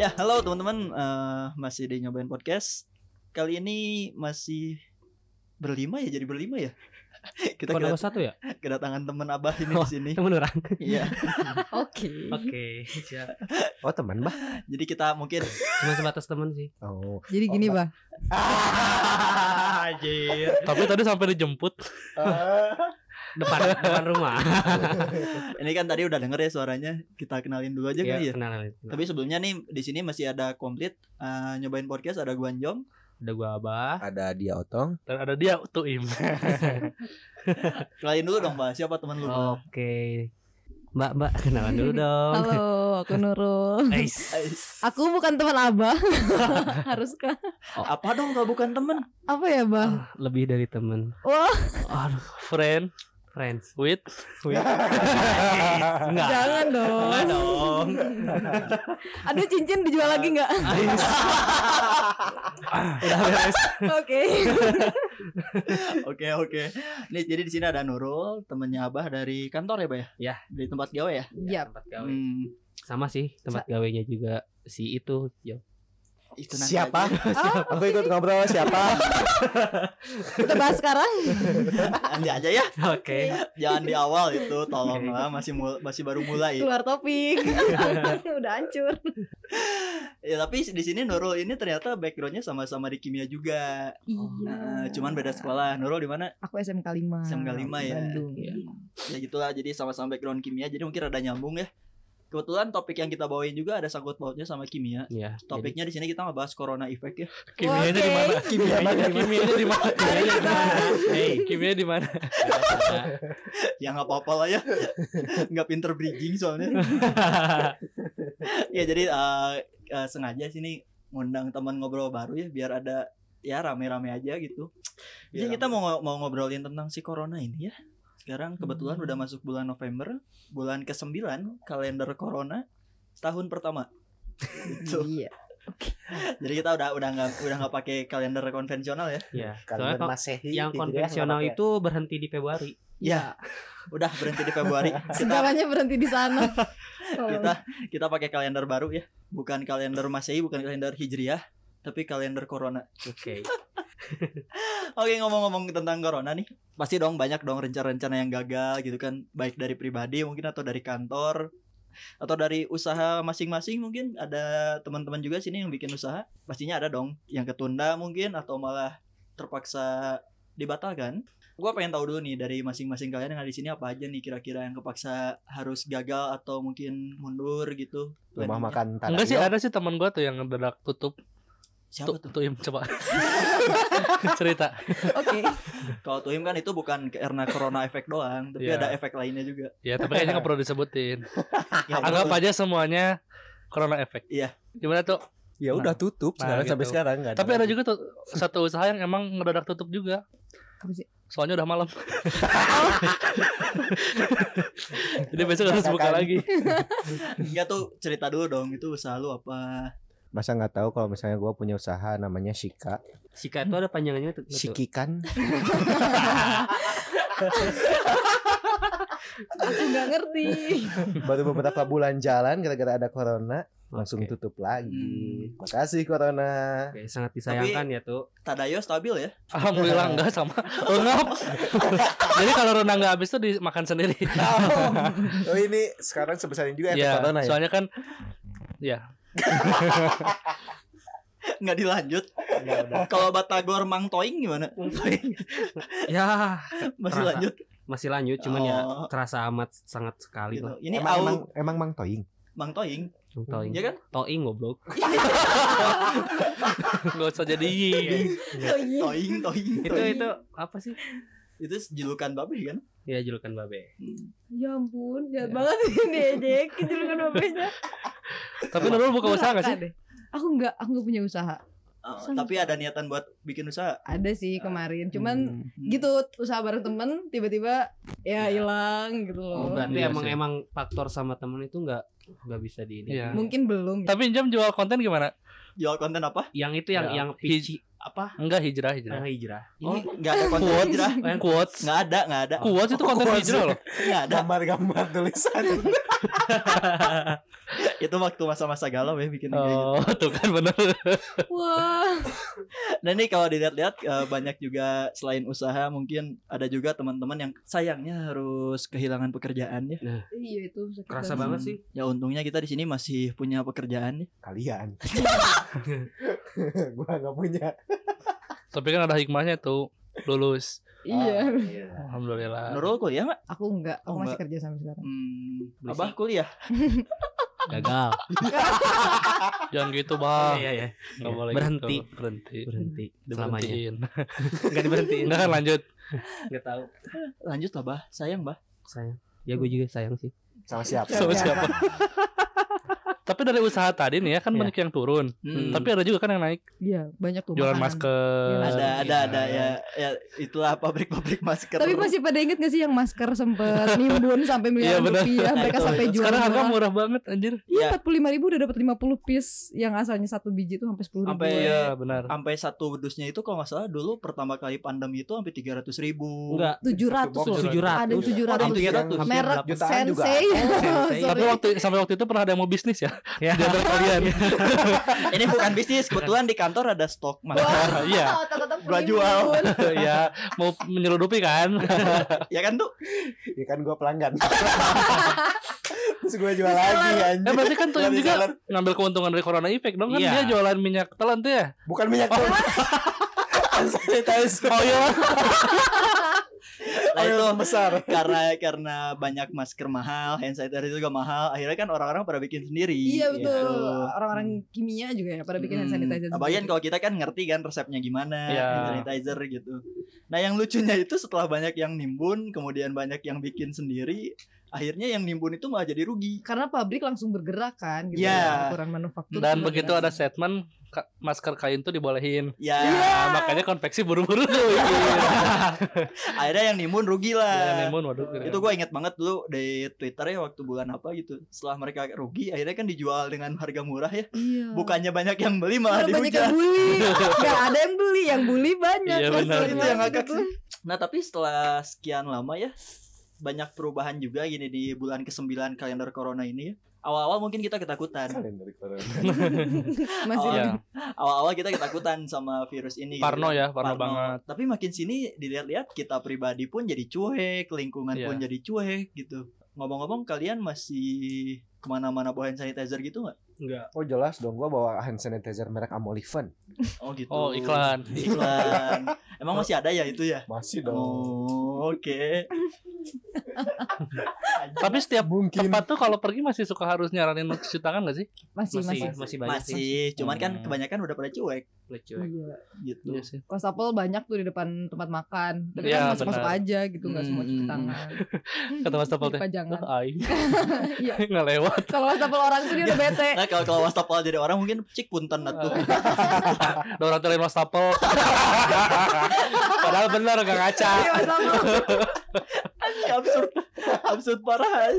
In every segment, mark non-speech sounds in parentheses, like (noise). Ya, halo teman-teman. Eh, masih di nyobain podcast. Kali ini masih berlima ya, jadi berlima ya. (laughs) Kita Kok nomor kedat- satu ya? kedatangan teman Abah ini di sini. Temen orang. Iya. Oke. Oke, siap. Oh teman bah. Jadi kita mungkin Cuma sebatas temen sih. Oh. Jadi gini, Bah. Ah, anjir. Tapi tadi sampai dijemput Ah. depan depan rumah. ini kan tadi udah denger ya suaranya. Kita kenalin dulu Iya, aja kali ya. kenalan. Tapi sebelumnya nih di sini masih ada komplit eh, nyobain podcast ada Guanjong. Ada gua abah. Ada dia otong. Dan ada dia Tuim. Kenalin dulu dong, Mbak. Siapa teman lu? Oh. Mbak? Oke. Mbak, Mbak, kenalan dulu dong. Halo, aku Nurul. Ais. Ais. Aku bukan teman Abah. (laughs) Haruskah? Apa dong kalau bukan temen? Apa ya, Bah? Ah, Lebih dari temen. Wah, Aduh, friend. Friends with with enggak. jangan dong. Enggak dong. Aduh, cincin dijual lagi nggak? Ais. Ah, Udah beres. (laughs) Oke. (laughs) Oke oke. Nih jadi di sini ada Nurul, temennya Abah dari kantor ya, Bah ya? Ya. Dari tempat gawe ya? Yap. Tempat gawe. Hmm, Sama sih, tempat gawenya juga si itu. Jo. itu nanti Siapa? aja. Ah, Aku ikut ngobrol siapa? kita bahas sekarang. Nanti aja ya. Oke. Jangan di awal itu, tolonglah masih mul- masih baru mulai. Keluar (laughs) topik. Udah hancur. Ya tapi di sini Nurul ini ternyata backgroundnya sama-sama di kimia juga. Oh, Nah, cuman beda sekolah. Nurul di mana? Iya. Aku SMK 5. SMK 5 ya. Bandung. Iya. Ya gitulah. Jadi sama-sama background kimia. Jadi mungkin ada nyambung ya. Kebetulan topik yang kita bawain juga ada sangkut pautnya sama kimia. Iya. jadi- Topiknya di sini kita ngebahas corona effect ya. Kimianya di mana? Kimianya kimianya di mana? Kimianya di mana? Hey, kimia di mana? Ya nggak apa-apa lah ya. Nggak pinter bridging soalnya. ya jadi eh, eh, sengaja sini ngundang teman ngobrol baru ya biar ada ya rame-rame aame aja gitu. Jadi Biar kita mau ngo- mau ngobrolin tentang si corona ini ya. Sekarang kebetulan udah masuk bulan November, bulan ke-9 kalender corona tahun pertama. Gitu. Iya. Jadi kita udah udah nggak udah nggak pakai kalender konvensional ya. Iya. Soalnya Kalian kalau masehi. yang gitu ya, konvensional nggak itu berhenti di Februari. Ya, udah berhenti di Februari. Kita Segalanya berhenti di (laughs) sana. kita kita pakai kalender baru ya. Bukan kalender Masehi, bukan kalender Hijriah, tapi kalender corona. Oke. Oke ngomong-ngomong tentang corona nih, pasti dong banyak dong rencana-rencana yang gagal gitu kan, baik dari pribadi mungkin atau dari kantor atau dari usaha masing-masing mungkin ada teman-teman juga sini yang bikin usaha, pastinya ada dong yang ketunda mungkin atau malah terpaksa dibatalkan. Gua pengen tahu dulu nih dari masing-masing kalian yang ada di sini apa aja nih kira-kira yang kepaksa harus gagal atau mungkin mundur gitu. pakai. rumah makan tanah. Enggak sih ada sih teman gua tuh yang ngedadak tutup Siapa tuh tuh? tuim coba. (laughs) Cerita. Oke. Kalau Tuhim kan itu bukan karena corona efek doang, tapi Iya. ada efek lainnya juga. Ya, tapi kayaknya nggak perlu disebutin. Ya, Anggap betul. aja semuanya corona efek. Iya. Gimana tuh? Ya udah tutup Nah, sekarang gitu. sampai sekarang nggak Tapi ada juga tuh satu usaha yang emang ngedadak tutup juga. Apa sih? Soalnya udah (laughs) malam. Jadi besok harus buka Dadakan. lagi. Ya tuh cerita dulu dong itu usaha lu apa? Masa nggak tahu kalau misalnya gua punya usaha namanya Shika. Sika itu ada panjangannya tuh. Shikikan. Aku nggak (laughs) ngerti. Iya. Baru beberapa bulan jalan gara-gara ada corona langsung Oke. tutup lagi. Hmm. Makasih corona. Oke, sangat disayangkan ya tuh. Tadayo stabil ya? (laughs) (laughs) Alhamdulillah enggak sama lengkap. (laughs) Jadi kalau rendang enggak habis tuh dimakan sendiri. Oh, oh ini sekarang sebesar ini juga efek Iya, corona ya. soalnya kan Nggak dilanjut. Kalau Batagor Mang Toing gimana? ya Masih Terasa. lanjut masih lanjut cuman ya Oh. terasa amat sangat sekali gitu. lah. Ini emang, au emang, emang Mang Toing. Mang Toing, Toing. ya kan? Toing goblok. (laughs) Enggak usah jadi yi. Iya, gitu. Oh, iya. Toing, Toing. Itu toing. itu apa sih? Itu julukan babe kan? Ya julukan babe. Ya ampun, Ya. jahat banget ini Ejek. Julukan bapaknya. Tapi Nurul buka usaha enggak sih? Deh. Aku nggak, aku nggak punya usaha. Oh, Sama. tapi ada niatan buat bikin usaha. Ada sih kemarin, cuman Hmm. Hmm. gitu usaha bareng temen tiba-tiba ya Ya. hilang gitu Oh, loh. berarti Iya emang sih. emang faktor sama temen itu enggak enggak bisa di ini. Mungkin belum. Ya. Tapi jam jual konten gimana? Jual konten apa? Yang itu yang Ya. yang PC apa Enggak hijrah hijrah. eh, hijrah Oh. ini nggak ada konten Quotes. hijrah Yang quotes. nggak ada nggak ada Quotes itu konten Quotes. hijrah loh. nggak ada Gambar-gambar tulisan. (laughs) itu waktu masa-masa galau ya bikin kayak gitu (laughs) Oh, tuh kan bener. Wah. nah ini kalau dilihat-lihat eh, banyak juga selain usaha mungkin ada juga teman-teman yang sayangnya harus kehilangan pekerjaannya Iya itu sakit Kerasa banget. banget Hmm. sih. ya untungnya kita di sini masih punya pekerjaan ya. Kalian. (laughs) Gua nggak punya. Tapi kan ada hikmahnya tuh lulus. Iya. Ah, Alhamdulillah. Nurul kuliah nggak Aku enggak, aku Oh, masih enggak. kerja sampai sekarang. hmm, Berisik. abah kuliah gagal. Jangan gitu, Bang. Iya iya Enggak boleh Berhenti. gitu. Berhenti. berhenti selamanya. Diberhentiin. (laughs) Enggak diberhentiin. Enggak kan lanjut. Enggak tahu. lanjut lah bah sayang bah Sayang. Ya gue juga sayang sih. Sama siapa? Sama siapa? Tapi dari usaha tadi nih ya kan Iya. banyak yang turun. Hmm. Tapi ada juga kan yang naik Iya, banyak tuh. jualan makanan. masker. ada Iya. ada ada ya ya itulah pabrik-pabrik masker Tapi masih pada inget gak sih yang masker sempet nimbun sampai Iya, miliaran benar. rupiah Nah, mereka itu, sampai itu. jual Sekarang harga murah banget anjir. Iya. Iya, 45 ribu udah dapat 50 piece yang asalnya satu biji tuh sampai 10 ribu. Sampai- ya. Iya, benar. sampai satu bedusnya itu kalau nggak salah dulu pertama kali pandemi itu sampai tiga ratus ribu (laughs) Enggak. 700 Satu box loh. 700. Ada Ada 300. 700. Hampir Merek berapa? ya, Jutaan (laughs) juga. Sensei. Sensei. Tapi Sorry. waktu sampai waktu itu pernah ada yang mau bisnis ya Ya. (laughs) di antara kalian. ini bukan bisnis kebetulan di kantor ada stok masker Wah, Iya. tetep Gua nimbun. jual. ya mau menyeludupi kan. ya kan tuh Ya kan gua (laughs) pelanggan. Terus gua jual lagi Reseller. Eh anjir. berarti kan tuh Gua yang juga reseller. ngambil keuntungan dari corona effect dong kan Iya. dia jualan minyak telan tuh ya. Bukan minyak telur. (laughs) Sanitizer. Oh iya. Oh, lah itu Oil besar. karena karena banyak masker mahal hand sanitizer juga mahal akhirnya kan orang-orang pada bikin sendiri Iya betul. gitu. Orang-orang kimia juga ya pada bikin hand Hmm. sanitizer. Apalagi kan sendiri. kalau kita kan ngerti kan resepnya gimana, Iya. hand sanitizer gitu. Nah, yang lucunya itu setelah banyak yang nimbun, kemudian banyak yang bikin sendiri, akhirnya yang nimbun itu malah jadi rugi. karena pabrik langsung bergerak kan gitu Iya. ya, ukuran manufaktur. (laughs) Dan juga begitu ada statement ka- masker kain tuh dibolehin. Ya, Iya. Nah, makanya konveksi buru-buru tuh. akhirnya Iya, yang nimbun rugi lah. Nemun Iya, waduh. Itu gue inget banget dulu di Twitter ya waktu bulan apa gitu. Setelah mereka rugi, akhirnya kan dijual dengan harga murah ya. Iya. Bukannya banyak yang beli malah Karena banyak dihujat. yang bully. Gak ada yang beli, yang bully banyak. Iya, Mas. benar. Itu yang Mas, agak gitu. Nah, tapi setelah sekian lama ya banyak perubahan juga gini di bulan ke-9 kalender corona ini ya. Awal-awal mungkin kita ketakutan. Kalian dari corona. Masih Iya. awal-awal kita ketakutan sama virus ini gitu kan. Parno ya, parno, banget. tapi makin sini dilihat-lihat kita pribadi pun jadi cuek lingkungan Iya. pun jadi cuek gitu ngomong-ngomong kalian masih kemana-mana bawa hand sanitizer gitu nggak Enggak. Oh jelas dong gua bawa hand sanitizer merek Amolifen. oh gitu Oh, iklan. iklan emang masih ada ya itu ya Masih dong. oh oke Tapi setiap Mungkin tempat tuh kalau pergi masih suka harus nyaranin cuci tangan gak sih? masih masih. Masih masih banyak sih. masih cuman kan Hmm. kebanyakan udah pada cuek Lucu. Iya. gitu Iya sih. Wastafel banyak tuh di depan tempat makan. Tapi Iya, kan masuk-masuk benar. aja gitu nggak semua cuci Hmm. tangan. Kata wastafel teh. Lupa jangan. Wah, aing. (laughs) Iya. Nggak lewat. Kalau wastafel orang tuh dia udah bete. nah kalau kalau wastafel jadi orang mungkin cik punten atuh Ada orang telain wastafel. Padahal bener gak ngaca. Iya, wastafel. (laughs) absurd absurd parah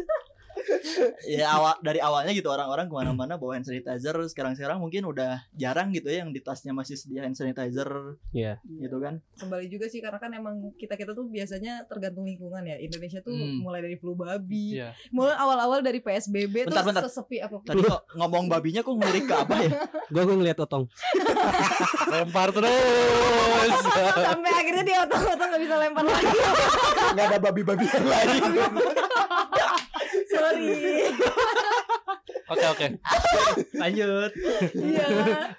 ya awal dari awalnya gitu orang-orang kemana-mana bawa hand sanitizer sekarang-sekarang mungkin udah jarang gitu ya yang di tasnya masih sedia hand sanitizer Iya. gitu kan Kembali juga sih karena kan emang kita kita tuh biasanya tergantung lingkungan ya. Indonesia tuh Hmm. mulai dari flu babi, Iya. mulai awal-awal dari PSBB Bentar, tuh bentar. sesepi apa tadi kok ngomong babinya kok ngelirik ke apa ya Gue gue ngeliat otong. (laughs) Lempar terus. sampai akhirnya dia otot-otot gak bisa lempar lagi nggak ada babi-babian lagi. sorry Oke oke. lanjut iya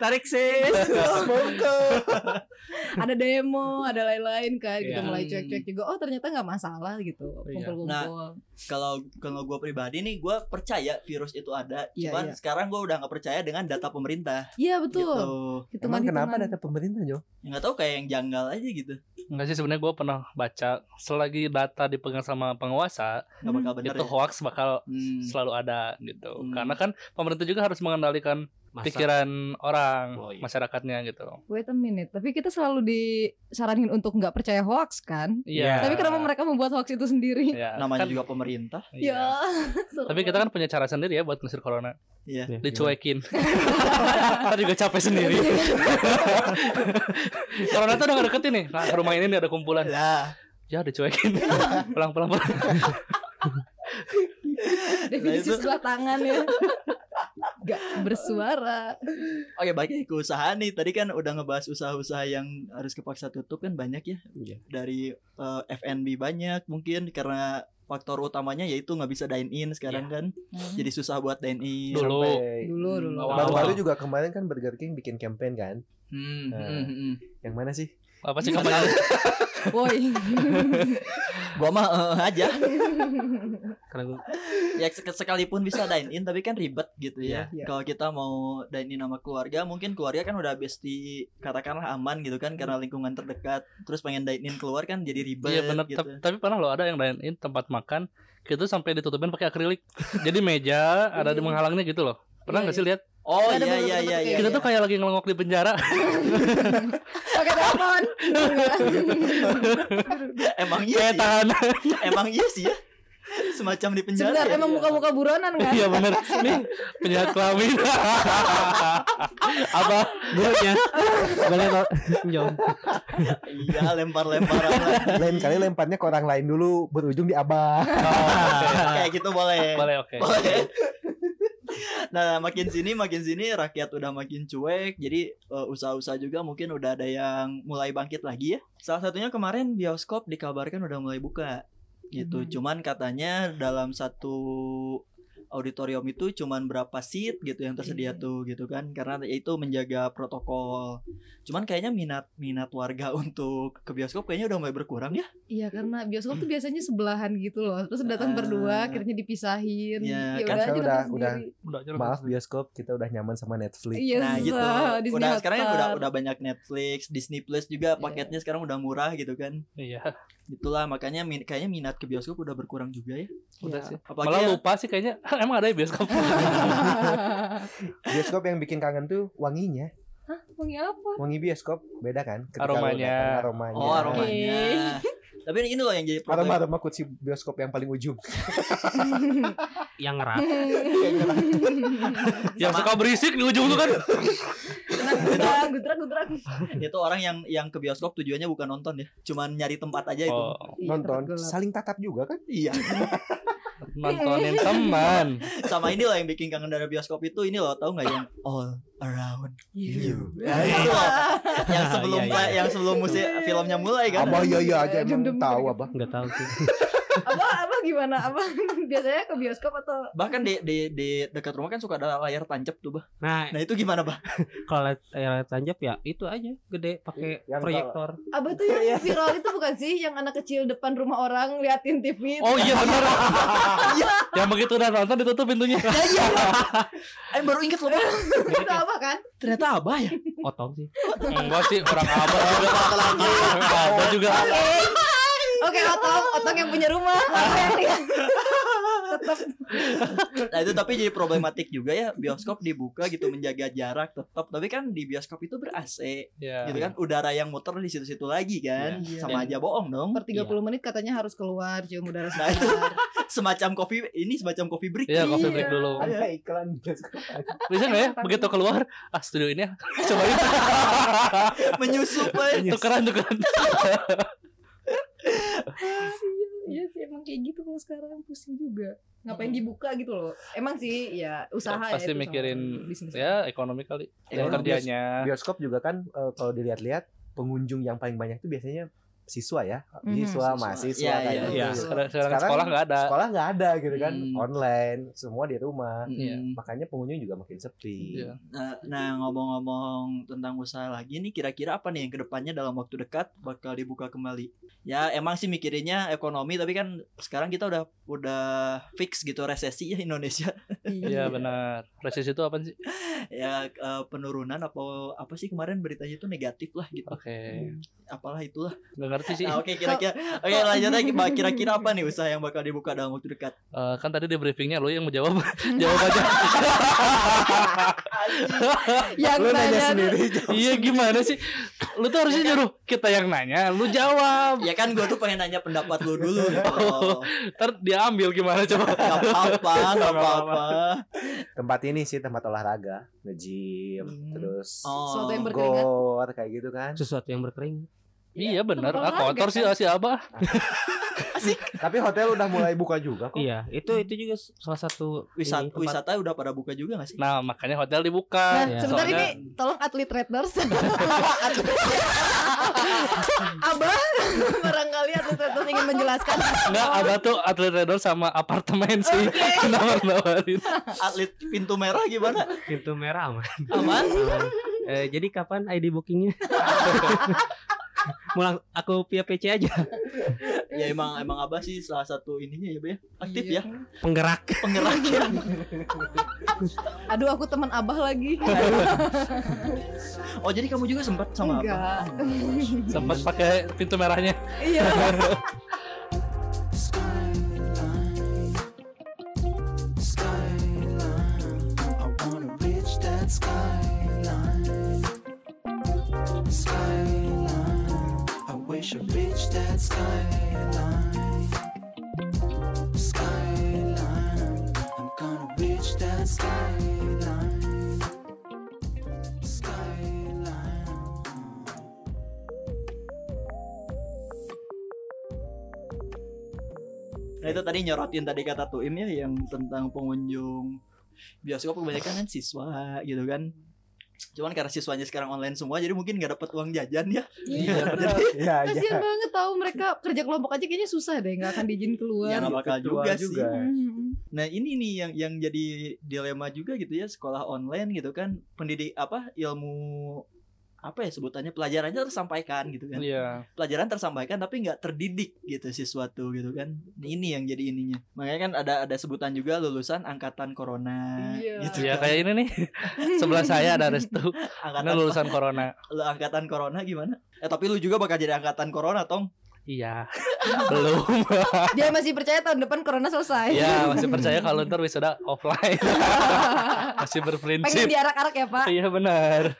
Tarik sis. ada demo ada lain-lain kan gitu Iya. mulai cuek-cuek juga oh ternyata nggak masalah gitu Iya. kumpul-kumpul kalau kalau gue pribadi nih gue percaya virus itu ada Iya, cuman iya. iya sekarang gue udah nggak percaya dengan data pemerintah gitu betul Emang kenapa hitungan-hitungan. data pemerintah Jo? Ya, nggak tahu kayak yang janggal aja gitu Enggak sih sebenarnya gue pernah baca selagi data dipegang sama penguasa nggak bakal bener itu ya Gitu, hoax bakal Hmm. selalu ada gitu Hmm. karena kan pemerintah juga harus mengendalikan pikiran orang Oh, iya. masyarakatnya gitu. Wait a minute. Tapi kita selalu disaranin untuk nggak percaya hoax kan? Iya. Tapi kenapa mereka membuat hoax itu sendiri? Iya, (laughs) namanya kan- juga pemerintah Ya Iya. (laughs) serem. Tapi kita kan punya cara sendiri ya buat ngusir corona. Iya. Dicuekin. Kita juga capek kan sendiri. corona tuh udah gak deketin nih. Nah, ke rumah ini nih ada kumpulan. lah Ya dicuekin. (laughs) pulang pulang pulang. Nah, (laughs) Nah, Definisi itu- sebelah tangan ya. Gak bersuara. oke baiknya ya, ke usaha nih tadi kan udah ngebahas usaha-usaha yang harus kepaksa tutup kan banyak ya Iya. dari eh, F&B banyak mungkin karena faktor utamanya yaitu nggak bisa dine in sekarang kan Hmm. jadi Hmm. susah buat dine in Dulu. Hmm. dulu dulu. Awal. Baru-baru juga kemarin kan Burger King bikin campaign kan. Hmm, Nah. hmm, hmm, hmm. Yang mana sih? Apa sih kampanye? Woi. (laughs) gua mah eh, aja Karena gua- ya sek- sekalipun bisa dine in tapi kan ribet gitu ya. Iya. Kalau kita mau dine in sama keluarga, mungkin keluarga kan udah besti katakanlah aman gitu kan karena lingkungan terdekat. Terus pengen dine in keluar kan jadi ribet Iya benar. gitu. Tapi pernah loh ada yang dine in tempat makan gitu sampai ditutupin pakai akrilik. (laughs) Jadi meja ada di menghalangnya gitu loh. Pernah Iya, nggak sih lihat? Oh iya Ada bentuk-bentuk iya iya. kayak iya. Kita tuh kayak lagi ngelongok di penjara. (laughs) Pakai telepon. emang iya kayak sih. ya? tahan. Emang iya sih ya. Semacam di penjara. Sebentar ya? emang muka-muka buronan kan? Iya benar. Nih penjahat kelamin. Apa? Buruknya. Boleh Pak. Jom. Iya, lempar-lemparan lah. Lain kali lemparnya ke orang lain dulu berujung di abah. kayak gitu boleh. Boleh oke. Boleh. (laughs) Nah, makin sini makin sini rakyat udah makin cuek. Jadi eh, usaha-usaha juga mungkin udah ada yang mulai bangkit lagi ya. Salah satunya kemarin bioskop dikabarkan udah mulai buka. Gitu. Mhm. Cuman katanya dalam satu auditorium itu cuman berapa seat gitu yang tersedia Iya. tuh gitu kan karena itu menjaga protokol. Cuman kayaknya minat minat warga (laughs) untuk ke bioskop kayaknya udah mulai berkurang ya. Iya karena bioskop tuh biasanya sebelahan gitu loh. Terus Ah. datang berdua, akhirnya dipisahin. Ya Iya, kan udah aja sekarang datang udah- udah sendiri. Udah, nyuruh. Maaf bioskop, kita udah nyaman sama Netflix. Iya, Nah gitu. Disney Udah sekarang ya Hotstar. (laughs) udah (laughs) udah banyak Netflix, Disney Plus juga Iya. paketnya sekarang udah murah gitu kan. Iya. Itulah makanya min- kayaknya minat ke bioskop udah berkurang juga ya. Udah Iya. sih. Apalagi Malah ya, lupa sih kayaknya. (laughs) Emang ada ya bioskop? Bioskop yang bikin kangen tuh wanginya, Hah, wangi apa? wangi bioskop beda kan? Ketika lu Aromanya. datang, aromanya. Iya. oh aroma. aromanya. (laughs) Tapi ini loh yang jadi (laughs) Aroma problem. aroma kursi bioskop yang paling ujung. Yang rap. yang suka berisik di ujung tuh kan. Gudrak, gudrak, gudrak. Itu orang yang yang ke bioskop tujuannya bukan nonton ya, cuman nyari tempat aja itu. Oh, Iya, Nonton, tempat gelap. saling tatap juga kan? Iya. nontonin teman. Sama ini loh yang bikin kangen dari bioskop itu ini loh tahu nggak yang all around you. Ya, itu loh. (laughs) yang sebelum Iya, iya. yang sebelum musik filmnya mulai kan. Abah iya iya aja Dum, emang dum, tahu dum. abah. Enggak tahu sih. Apa, apa gimana? Apa (laughs) biasanya ke bioskop atau Bahkan di di di dekat rumah kan suka ada layar tancap tuh, Bah. Nah, Nah, itu gimana, Bah? kalau lihat layar tancap ya itu aja gede pakai Yang proyektor. Abah tuh yang viral itu bukan sih yang anak kecil depan rumah orang liatin TV Oh iya benar. (laughs) yang begitu udah nonton ditutup pintunya. Eh baru inget loh, Bah. itu apa kan? Ternyata Abah ya. Otong sih. Enggak sih, orang abah juga. Orang abah juga. Oke. Oke, otong, otong yang punya rumah. Tetap Nah itu tapi jadi problematik juga ya bioskop dibuka gitu menjaga jarak tetap tapi kan di bioskop itu ber AC Iya. gitu kan udara yang muter di situ-situ lagi kan Iya. sama aja bohong dong per 30 menit katanya harus keluar cium udara Nah, itu- segar. semacam coffee ini semacam coffee break Iya, coffee (laughs) break Iya. dulu. Ada iklan bioskop. Bisa nggak ya begitu keluar? Ah, studio ini ya. cobain. menyusup eh. tukeran tukeran. Iya sih emang kayak gitu kalau sekarang pusing juga. Ngapain dibuka gitu loh. Emang sih ya usaha ya. Pasti itu sama mikirin bisnis. ya ekonomi kali. Ekonomi. Dan kerjanya. Bioskop juga kan eh, kalau dilihat-lihat pengunjung yang paling banyak tuh biasanya siswa ya, Mhm. Siswa. siswa, mahasiswa Iya, kayak iya, gitu. iya. Sekarang, sekarang sekolah nggak ada. Sekolah nggak ada gitu kan, Hmm. online, semua di rumah. Mm-mm. Iya. Makanya pengunjung juga makin sepi. Iya. Nah, nah, ngomong-ngomong tentang usaha lagi nih kira-kira apa nih yang kedepannya dalam waktu dekat bakal dibuka kembali ya emang sih mikirinnya ekonomi tapi kan sekarang kita udah udah fix gitu resesi ya Indonesia (laughs) Iya benar. Resesi itu apa sih? ya eh, penurunan apa apa sih kemarin beritanya itu negatif lah gitu Oke. Iya. apalah itulah Nggak ngerti sih. Nah, oke kira-kira oke lanjut lagi Mbak. kira-kira apa nih usaha yang bakal dibuka dalam waktu dekat? Eh, kan tadi di briefingnya lo yang mau jawab. (laughs) jawab aja. yang Lu nanya tanya sendiri. (laughs) iya gimana sih? Lu tuh harusnya nyuruh kita yang nanya, lu jawab. Ya kan gue tuh pengen nanya pendapat lu dulu. gitu. Ntar dia ambil gimana coba. Gak apa-apa, gak apa-apa. Tempat ini sih tempat olahraga, nge-gym, Hmm. terus Oh. Sesuatu yang ber- Berkeringat. gor kayak gitu kan. sesuatu yang berkeringat Iya benar. Ah, Olahraga, kotor sih kan? si Abah. Tapi hotel udah mulai buka juga kok. Iya, itu itu juga s- salah satu Wisata, ini, tempat- wisata udah pada buka juga gak sih? Nah, makanya hotel Nah, dibuka. Ya. sebentar Iya, Soalnya- ini tolong atlet traders. Abah, barangkali atlet traders ingin menjelaskan. Enggak, Abah tuh atlet redor sama apartemen sih. Oh. (laughs) Oke. Nawar-nawarin. (laughs) Atlet pintu merah gimana? pintu merah aman. Aman? Eh, jadi kapan ID bookingnya? Mulang aku via PC aja. (laughs) Ya emang emang Abah sih salah satu ininya ya, Be. Aktif ya, Penggerak. penggerak (laughs) ya. Aduh, aku teman Abah lagi. Oh, jadi kamu juga sempat sama Abah? Enggak. Sempat pakai pintu merahnya. (laughs) Iya. Nah itu tadi nyorotin tadi kata Tuim ya yang tentang pengunjung bioskop kebanyakan kan siswa gitu kan. Cuman karena siswanya sekarang online semua jadi mungkin nggak dapat uang jajan ya. Iya. Iya aja. Kasian banget tahu mereka kerja kelompok aja kayaknya susah deh, nggak akan diizin keluar. Ya Gitu Iya, nggak bakal Ketua juga, sih. Hmm. Nah ini nih yang yang jadi dilema juga gitu ya sekolah online gitu kan pendidik apa ilmu apa ya sebutannya pelajarannya tersampaikan gitu kan Iya. pelajaran tersampaikan tapi nggak terdidik gitu siswa tuh gitu kan ini yang jadi ininya makanya kan ada ada sebutan juga lulusan angkatan corona Iya. gitu Ya kan. kayak ini (laughs) nih. Sebelah saya ada Restu. Ini angkatan lulusan corona. lu angkatan corona gimana? Eh tapi lu juga bakal jadi angkatan corona, Tong. (laughs) Iya. Belum. Dia masih percaya tahun depan corona selesai. Iya, masih percaya kalau ntar wisuda offline. (laughs) masih Pengen berprinsip. diarak-arak ya, Pak. Iya benar.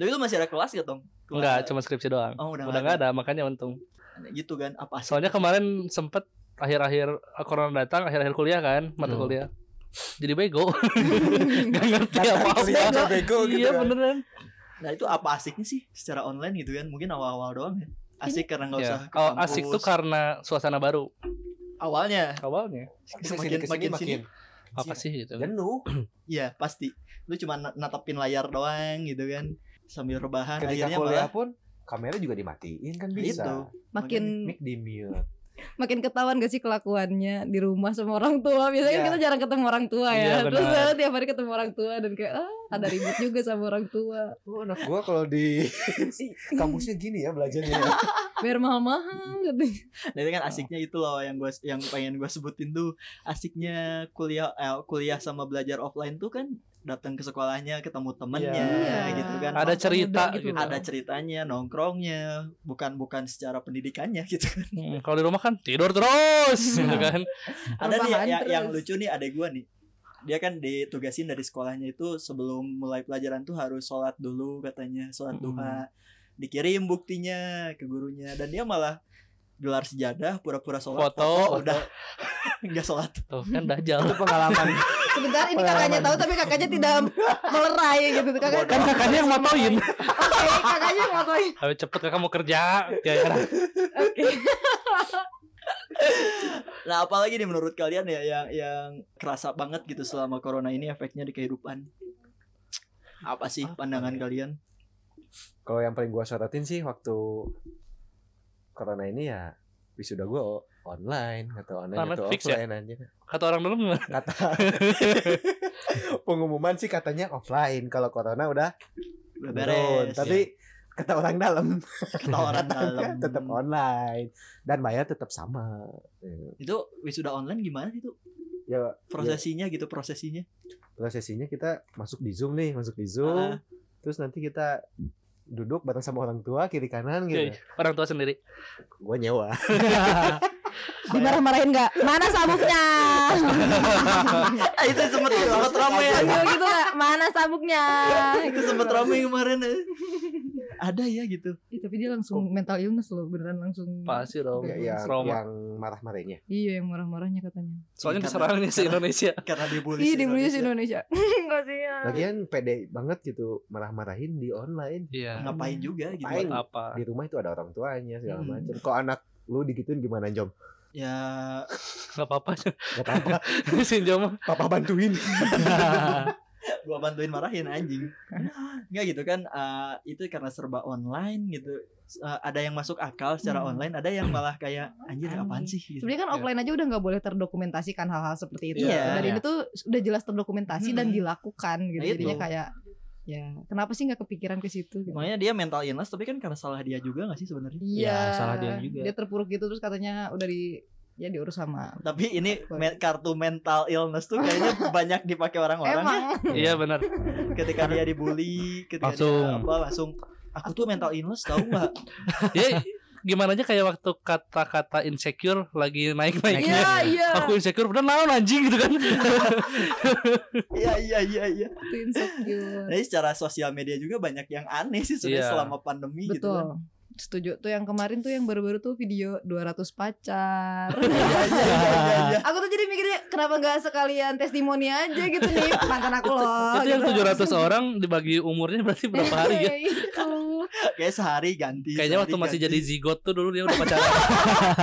Tapi lu masih ada kelas gak, Tong? Kelas- Enggak, cuma skripsi doang. Oh, udah, Udah nggak enggak ada, makanya untung. ada. Gitu kan. Apa sih? Soalnya kemarin sempet akhir-akhir eh, corona datang, akhir-akhir kuliah kan, mata Hmm. kuliah. Jadi bego. Gak ngerti apa-apa. Kelihatan bego gitu. Iya beneran. Nah, itu apa asiknya sih secara online gitu kan? Mungkin awal-awal doang ya. Asik karena nggak Iya. usah ke Kalau asik kampus. tuh karena suasana baru awalnya awalnya. semakin makin sini. Apa sih gitu. Jenuh. Iya, pasti. Lu cuma na- natapin layar doang gitu kan sambil rebahan Ketika akhirnya kuliah malah pun kamera juga dimatiin kan Itu. bisa. Makin Mic di mute. makin ketahuan gak sih kelakuannya di rumah sama orang tua biasanya kan Iya. kita jarang ketemu orang tua ya Iya, terus benar. eh, (laughs) tiap hari ketemu orang tua dan kayak ah ada ribut juga sama orang tua Oh, anak gua kalau (laughs) di kampusnya gini ya belajarnya. ya. biar mahal-mahal Iya, gitu. Nah, itu kan asiknya itu loh yang gua yang pengen gua sebutin tuh asiknya kuliah eh, kuliah sama belajar offline tuh kan datang ke sekolahnya ketemu temennya Iya. gitu kan Ada Masa cerita muda gitu gitu. ada ceritanya nongkrongnya bukan bukan secara pendidikannya (laughs) gitu kan Hmm, kalau di rumah kan tidur terus gitu kan. ada nih ya, Rebahan yang, yang terus. lucu nih adek gua nih dia kan ditugasin dari sekolahnya itu sebelum mulai pelajaran tuh harus sholat dulu katanya sholat Mm-mm. duha dikirim buktinya ke gurunya dan dia malah gelar sejadah pura-pura sholat Foto, foto. udah nggak sholat Tuh kan dajal. Itu pengalaman. sebentar ini kakaknya tahu tapi kakaknya (laughs) tidak melerai gitu kakaknya Kan kakaknya yang motoin. oke kakaknya ngapain Ayo cepet kakak mau kerja. Ya, ya. oke nah apalagi nih menurut kalian ya yang yang kerasa banget gitu selama corona ini efeknya di kehidupan apa sih Apa pandangan ya? kalian Kalau yang paling gua sorotin sih waktu corona ini ya wisuda gua o- online atau online Online atau fix ya? offline aja. Kata orang dulu gimana? Kata pengumuman sih katanya offline kalau corona udah udah turun. beres ya. tapi kata orang dalam Kata (laughs) orang (laughs) dalam tetap online dan bayar tetap sama. itu wisuda online gimana sih itu Ya prosesinya gitu prosesinya prosesinya kita masuk di Zoom nih, masuk di Zoom. Ah. Terus nanti kita duduk bareng sama orang tua kiri kanan gitu. Oke, Orang tua sendiri. (laughs) Gua nyewa. Dimarah-marahin nggak? Mana sabuknya? Ah, itu sempet sempet ramai ya. Sambil gitu nggak? Mana sabuknya? Itu sempet ramai kemarin. eh. (laughs) Ada ya gitu. Ih, tapi dia langsung mental illness loh, beneran langsung. Pasti dong. Ya, yang, Trauma. yang marah-marahnya. Iya, yang marah-marahnya katanya. Soalnya Karena- diserangnya si Indonesia. Karena dibully. Ih, si di Indonesia Indonesia. (laughs) Indonesia. ya. Kasihan. Lagian pede banget gitu marah-marahin di online. Iya. Ngapain juga gitu. Ngapain? Apa? Di rumah itu ada orang tuanya segala Hmm. macam. Kok anak lu digituin gimana Jom? Ya Gak apa-apa. (laughs) (laughs) Gak apa-apa, si Joma. papa bantuin. (laughs) gua bantuin marahin anjing. Enggak gitu kan eh, itu karena serba online gitu. Eh, ada yang masuk akal secara Hmm. online, ada yang malah kayak anjir apaan sih gitu. Sebenarnya kan Iya. offline aja udah nggak boleh terdokumentasikan hal-hal seperti itu. Iya. Dan Iya. ini tuh udah jelas terdokumentasi dan Mm-mm. dilakukan gitu. Nah, itu. Jadinya kayak ya kenapa sih nggak kepikiran ke situ? gitu. Makanya dia mental illness tapi kan karena salah dia juga gak sih sebenarnya? Iya. Ya, salah dia juga. Dia terpuruk gitu terus katanya udah di ya diurus sama. Tapi ini me- kartu mental illness tuh kayaknya (laughs) banyak dipakai orang-orang ya. Emang Iya benar. ketika dia dibully, ketika Langsung. dia apa langsung aku tuh mental illness tahu nggak? (laughs) Ya gimana aja kayak waktu kata-kata insecure lagi naik-naiknya. Iya, iya. Aku insecure bener naon anjing gitu kan. Iya iya iya iya. itu insecure. Jadi secara sosial media juga banyak yang aneh sih sebenarnya Iya. selama pandemi gitu. kan. Betul. Setuju tuh yang kemarin tuh yang baru-baru tuh video 200 pacar. (laughs) Iya iya iya iya, iya. aku tuh jadi mikirnya kenapa nggak sekalian testimoni aja gitu nih mantan aku loh. Itu yang gitu. Iya, 700 orang dibagi umurnya berarti (laughs) berapa hari ya? Itu. Kayak sehari ganti. Kayaknya waktu masih jadi zigot tuh dulu dia udah pacaran.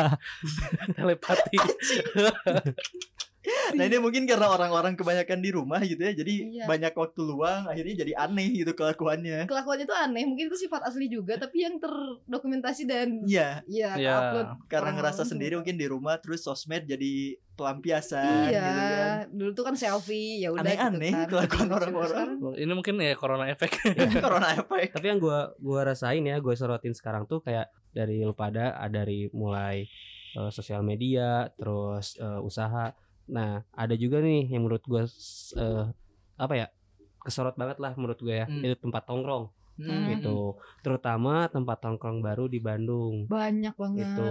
(laughs) Telepati. Nah ini mungkin karena orang-orang kebanyakan di rumah gitu ya, jadi Iya. banyak waktu luang, akhirnya jadi aneh gitu kelakuannya. Kelakuannya tuh aneh, mungkin itu sifat asli juga tapi yang terdokumentasi dan Iya, ya Iya. upload karena orang-orang ngerasa tuh. sendiri mungkin di rumah, terus sosmed jadi pelampiasan Iya, gitu kan. dulu tuh kan selfie, ya udah Aneh-aneh kelakuan orang-orang. Ini mungkin ya corona efek. kan. (laughs) Corona efek. Tapi yang gua gua rasain ya, gua sorotin sekarang tuh kayak dari lu pada ah, dari mulai eh, sosial media, terus eh, usaha. Nah, ada juga nih yang menurut gua s- eh, apa ya? kesorot banget lah menurut gue ya. Hmm. Itu tempat tongkrong Hmm. gitu. Terutama tempat tongkrong baru di Bandung. Banyak banget. Itu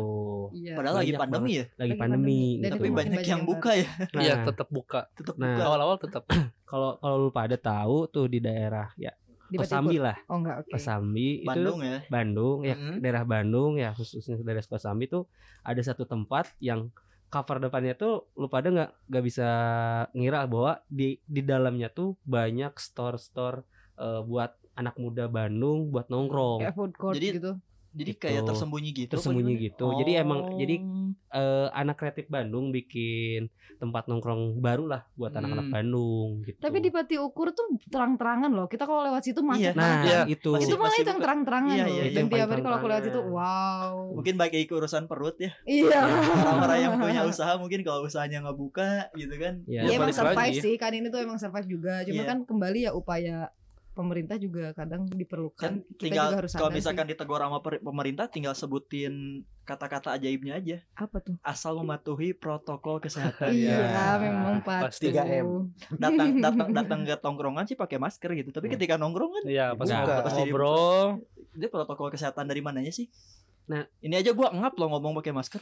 Iya. Padahal lagi Banyak pandemi ya, lagi Nah, Lagi pandemi, pandemi. tapi Dan gitu. makin banyak banyak yang yang buka ya, Nah, Iya tetap buka. tetap Nah. buka. Awal-awal tetap. kalau kalau lu pada tahu tuh di daerah ya Di Kosambi Patipur. lah, Oh enggak, oke. Kosambi itu Bandung ya. Bandung ya Mhm. daerah Bandung ya khususnya daerah Kosambi tuh ada satu tempat yang cover depannya tuh lu pada nggak nggak bisa ngira bahwa di di dalamnya tuh banyak store-store eh, buat anak muda Bandung buat nongkrong Kayak food court Jadi- gitu. Jadi kayak Gitu. tersembunyi gitu. apa tersembunyi gimana? gitu jadi emang Oh. jadi eh, anak kreatif Bandung bikin tempat nongkrong baru lah buat Hmm. anak-anak Bandung gitu Tapi di Pati Ukur tuh terang-terangan loh. Kita kalau lewat situ Iya. macet. nah Iya. itu Masih- itu malah masih itu yang buka. terang-terangan Iya, loh. iya, iya. Dan tiap hari kalau aku lewat situ, Terang-terangan. wow. Oh. mungkin baik ke urusan perut (laughs) ya. Iya. Orang-orang yang punya usaha mungkin kalau usahanya nggak buka gitu kan. Iya. Ya, Ya, emang balik lagi. survive sih kan ini tuh emang survive juga. Cuma Iya. kan kembali ya upaya pemerintah juga kadang kan diperlukan. Kita tinggal juga harus kalau sadar misalkan ditegur sama per- pemerintah tinggal sebutin kata-kata ajaibnya aja sih. apa tuh? asal mematuhi protokol (laughs) kesehatan Iya, Iya. memang Pasti. pasti. 3M. datang datang datang ke tongkrongan sih pakai masker gitu tapi Hmm. ketika nongkrong kan Iya pas Buka. ngobrol- Pasti dibuka. ngobrol. dia protokol kesehatan dari mananya sih Nah. ini aja gua ngap loh ngomong pakai masker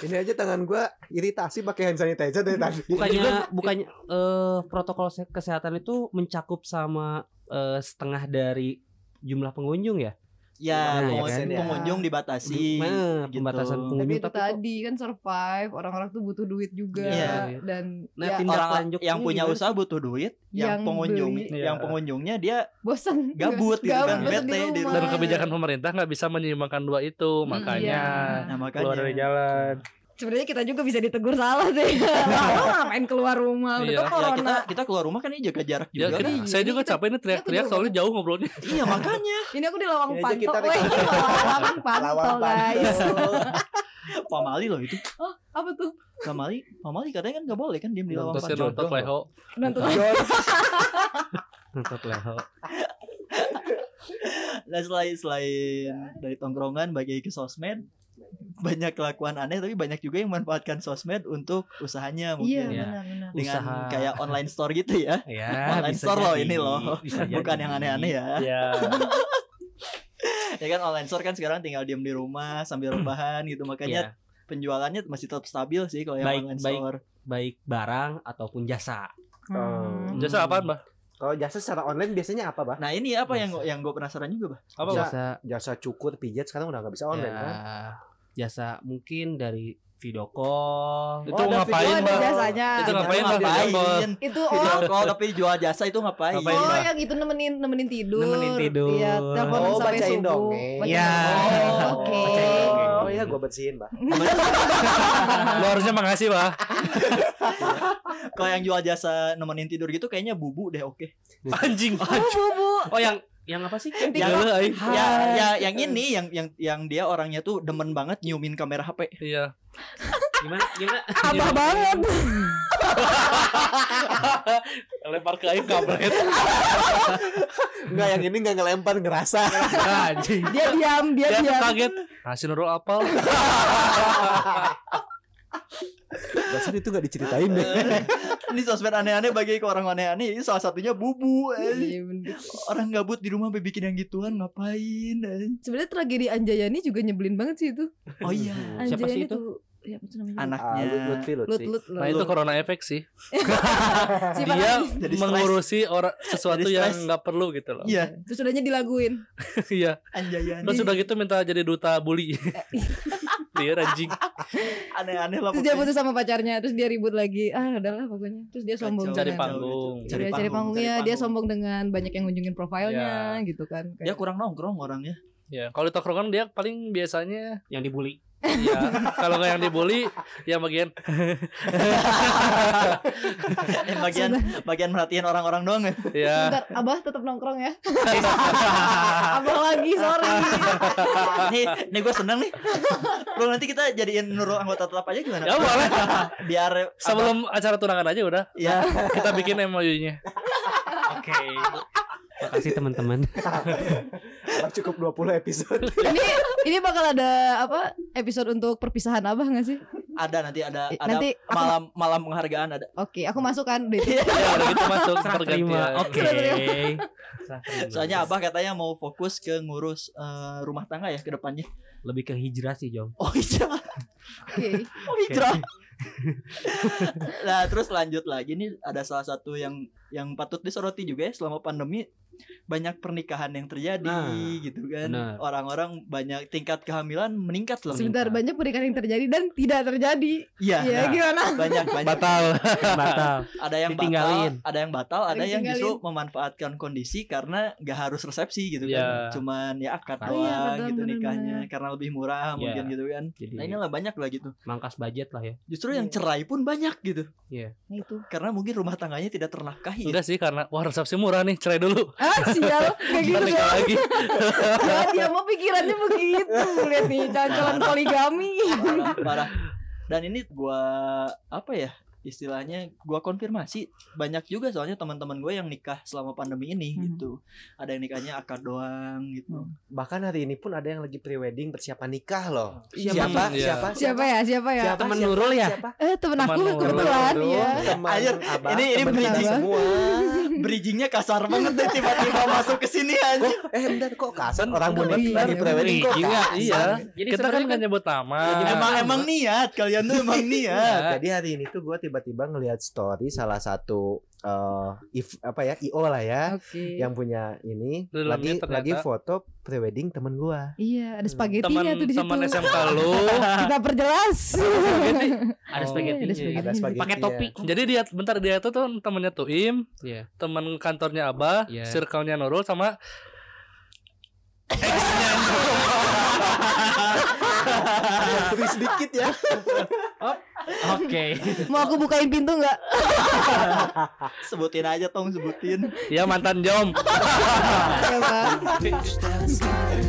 Ini aja tangan gua iritasi pakai hand sanitizer dari tadi. bukannya bukannya eh, protokol se- kesehatan itu mencakup sama eh, setengah dari jumlah pengunjung ya ya, Nah, pengun- iya kan, ya. pengunjung dibatasi Nah, gitu. pembatasan Tapi pengunjung itu kok- tadi kan survive, orang-orang tuh butuh duit juga Iya. dan Nah, ya, tindak orang lanjutnya yang punya gimana? usaha butuh duit yang, Yang pengunjung beli. yang Iya. pengunjungnya dia bosan Gabut gitu kan, bosan bete di rumah. Dan kebijakan pemerintah nggak bisa menyeimbangkan dua itu, makanya nah keluar makanya dari jalan. sebenarnya kita juga bisa ditegur salah sih lo ngapain keluar rumah ya, udah kan Iya. kita corona kita keluar rumah kan ini jaga jarak juga Ya, kita- kan? Iya, saya ini juga kita- capek nih teriak-teriak kita soalnya jauh ngobrolnya. iya makanya ini aku di lawang Ini aja panto kita weh ini lawang panto Lawan guys pamali loh itu oh apa tuh pamali pamali katanya kan nggak boleh kan diem di lawang Terus dia panjang nonton leho. nonton (laughs) Nonton leho. Nah selain selain dari tongkrongan bagi ke sosmed banyak kelakuan aneh tapi banyak juga yang memanfaatkan sosmed untuk usahanya Iya mungkin Iya. benar-benar. dengan Usaha. kayak online store gitu (laughs) ya Ya, Online bisa store loh jadi, ini loh. bisa (laughs) bukan jadi. Iya, yang aneh-aneh ya (laughs) Ya. ya kan online store kan sekarang tinggal diem di rumah sambil rebahan gitu makanya Iya, penjualannya masih tetap stabil sih kalau yang Baik, online baik. store baik barang ataupun jasa. Hmm. Jasa apaan, Bah? (laughs) Kalau jasa secara online biasanya apa, Bah? nah ini apa yang Bisa. yang gue penasaran juga bah Apa, Bah? jasa Jasa cukur, pijat sekarang udah nggak bisa online ya, kan? jasa mungkin dari video call. Itu Oh, ada ngapain, Oh, video ada Bah? ada. jasanya. Itu ngapain, Bah? Bos? Itu video oh, call tapi jual jasa itu ngapain, Ngapain, oh Bah? yang itu nemenin nemenin tidur. Nemenin tidur. Iya, telepon Oh, sampai bacain subuh. dongeng. Bacain Iya. dongeng. Oh, Oke. bacain dongeng. Oh iya, gue bersihin, Bah. Lo harusnya makasih, Bah. kalau yang jual jasa nemenin tidur gitu kayaknya bubu deh oke Anjing. Bu, bu, Oh yang yang apa sih? Yang Ya TikTok. lo, aing. ya ya yang ini yang yang yang dia orangnya tuh demen banget nyiumin kamera HP Iya. Gimana? Gimana? Abah banget. Lempar ke aing kampret. Enggak, yang ini nggak ngelempar, ngerasa. Anjing. Dia diam, dia Dia gitu. diam. kaget. Nasi Nurul apal. Rasanya itu nggak diceritain (laughs) deh. (laughs) ini sosmed aneh-aneh bagi ke orang aneh-aneh ini salah satunya bubu eh. Iya, bener. orang gabut di rumah sampai bikin yang gituan ngapain eh. Sebenarnya tragedi Anjayani juga nyebelin banget sih itu. oh iya Siapa sih Anjayani itu? tuh ya apa tuh namanya? Mhm. Ah, Lut- anaknya Lutfi, Lut Lutfi. Lut Lut. Nah, itu corona efek sih. Si Dia Farhan. Jadi stres. mengurusi orang sesuatu Jadi yang stres. nggak perlu gitu loh. iya Terus udahnya dilaguin. Iya. anjayani Terus udah gitu minta jadi duta bully. (laughs) Dia anjing. aneh-aneh lah Terus dia putus sama pacarnya, terus dia ribut lagi. Ah, udahlah pokoknya. Terus dia sombong Kacau, Cari kacau, dengan- panggung. kacau. Iya, Cari, panggung, cari ya, dia panggung. sombong dengan banyak yang ngunjungin profilnya gitu kan. dia Kayak- kurang nongkrong (laughs) orangnya Ya, kalau di tongkrongan dia paling biasanya Yang dibully. ya kalau nggak yang dibully yang bagian eh, bagian bagian merhatiin orang-orang doang ya ya Bentar, Abah tetap nongkrong ya. (laughs) abah lagi, sorry. (laughs) nih nih gue seneng nih lu nanti kita jadiin Nurul anggota tetap aja gimana Ya, boleh. biar apa- sebelum acara tunangan aja udah ya kita bikin MOU-nya. Oke. (laughs) Makasih teman-teman. Cukup 20 episode. ini ini bakal ada apa episode untuk perpisahan Abah nggak sih? ada nanti ada Eh, ada Nanti aku- malam malam penghargaan ada Oke, aku kan, masukkan deh. Ya udah gitu masuk Serah terima. pergantian. Oke. (laughs) Serah terima. soalnya abah katanya mau fokus ke ngurus eh, rumah tangga ya ke depannya lebih ke hijrah sih, (laughs) Jong. oh hijrah Oke. oh hijrah nah terus lanjut lagi nih ada salah satu yang yang patut disoroti juga ya selama pandemi banyak pernikahan yang terjadi Nah, gitu kan benar. orang-orang banyak tingkat kehamilan meningkat loh Sebentar banyak pernikahan yang terjadi dan tidak terjadi. iya Iya, nah, gimana? banyak banyak Batal. Batal. ada yang Ditinggalin. batal, ada yang batal, ada yang Ditinggalin. justru memanfaatkan kondisi karena nggak harus resepsi gitu Iya. kan. Cuman ya akad Akad. doang Iya, betul, gitu benar-benar. nikahnya karena lebih murah Iya. mungkin gitu kan. Jadi Nah inilah banyak lah gitu. mangkas budget lah ya. Justru yang Iya. cerai pun banyak gitu. Nah, itu. Karena mungkin rumah tangganya tidak ternafkahi. ya. Enggak sih karena wah resepsi murah nih, cerai dulu. Ah, sial. Kayak Kita gitu nikah lagi. Ya, dia mau pikirannya begitu. Lihat nih, calon-calon poligami. Parah, parah. Dan ini gua apa ya? istilahnya gua konfirmasi banyak juga soalnya teman-teman gue yang nikah selama pandemi ini Mhm. gitu ada yang nikahnya akad doang gitu Bahkan hari ini pun ada yang lagi prewedding persiapan nikah loh. Siapa? Siapa? Iya. Siapa? Siapa ya? Siapa ya? Siapa? Temen Siapa? Nurul ya? Siapa? Eh, temen Teman aku Nurul. kebetelan Temen Iya. ya. Nurul, temen Anjir, Abah, ini- ini temen kita berisi semua. bridgingnya kasar banget deh tiba-tiba masuk ke sini aja Kok eh bentar kok kasar orang Bener, bonek iya, lagi iya. prewedding kok. Iya, kasar? iya. Jadi Kita kan nggak nyebut Ah. nama. Iya, emang emang niat kalian tuh emang niat Iya. Nah, Jadi hari ini tuh gue tiba-tiba ngelihat story salah satu eh if, apa ya IO lah ya Oke. yang punya ini Dalamnya lagi ternyata- lagi foto prewedding temen gue. Iya, ada teman spagettinya tuh di situ. teman SMK lu. Kita perjelas. Ada Oh. spaghetti. Ada spaghetti. Ada spaghetti. Iya. Pakai topi. Jadi dia bentar dia tuh tuh temennya Tuim, Iya. teman kantornya Abah, Iya. circle-nya Nurul sama Terus sedikit ya. Oke. Mau aku bukain pintu nggak? sebutin aja tong sebutin ya mantan Jom. Ya, Bang. Stars, stars,